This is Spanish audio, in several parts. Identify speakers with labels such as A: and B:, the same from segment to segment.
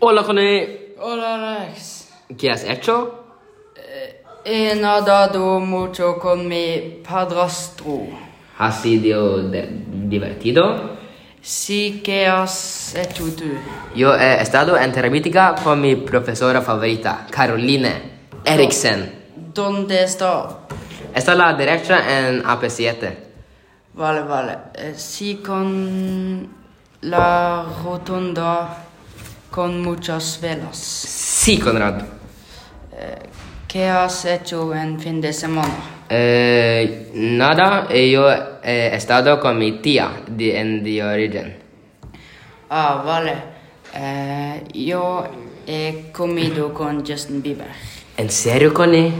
A: Hola Joné,
B: Hola Alex.
A: ¿qué has hecho?
B: He nadado mucho con mi padrastro.
A: ¿Ha sido de- divertido?
B: Sí, ¿qué has hecho tú?
A: Yo he estado en terapéutica con mi profesora favorita, Caroline Eriksen.
B: ¿Dónde está?
A: Está a la derecha en AP7.
B: Vale, vale. Eh, Sí, con la rotonda con muchas velas.
A: Sí, Conrad.
B: ¿Qué has hecho en fin de semana?
A: Eh, nada, yo he estado con mi tía de- en The Origin.
B: Ah, vale. Eh, yo he comido con Justin Bieber.
A: ¿En serio, Connie?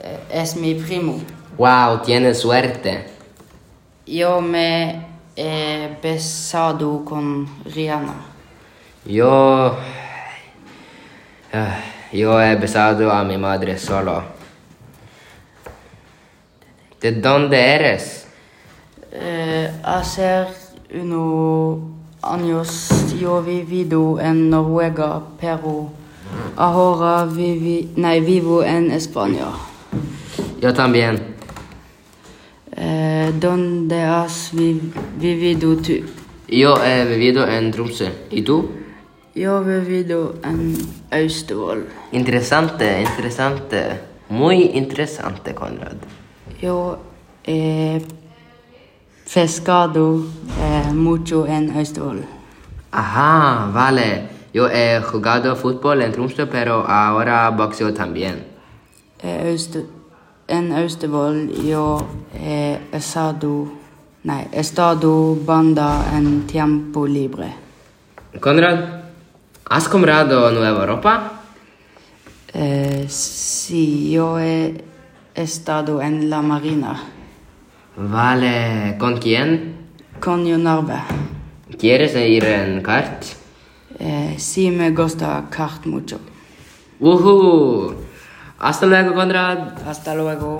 B: Eh, es mi primo.
A: Wow, tienes suerte.
B: Yo me he eh, besado con Rihanna.
A: Yo... Ah, Yo he besado a mi madre solo. ¿De dónde eres?
B: Eh, hace unos años yo he vivido en Noruega, pero ahora vivi, nei, vivo en España.
A: Yo también.
B: Eh, ¿Dónde has vi, vivido tú?
A: Yo he vivido en Tromsø. ¿Y tú?
B: Yo he vivido en Austevoll.
A: Interesante, interesante. Muy interesante, Conrad.
B: Yo he pescado eh, mucho en Austevoll.
A: Ajá, vale. Yo he jugado fútbol en Tromsø, pero ahora boxeo también.
B: Eh, Auste- en Austevoll yo he estado, nei, he estado banda en tiempo libre.
A: Conrad, ¿has comprado nueva ropa?
B: Eh, sí, yo he estado en la marina
A: Vale, ¿con quién?
B: con Jon Arve.
A: ¿Quieres ir en kart?
B: Eh, sí, me gusta kart mucho.
A: ¡Uhú! Hasta luego, Conrad.
B: Hasta luego.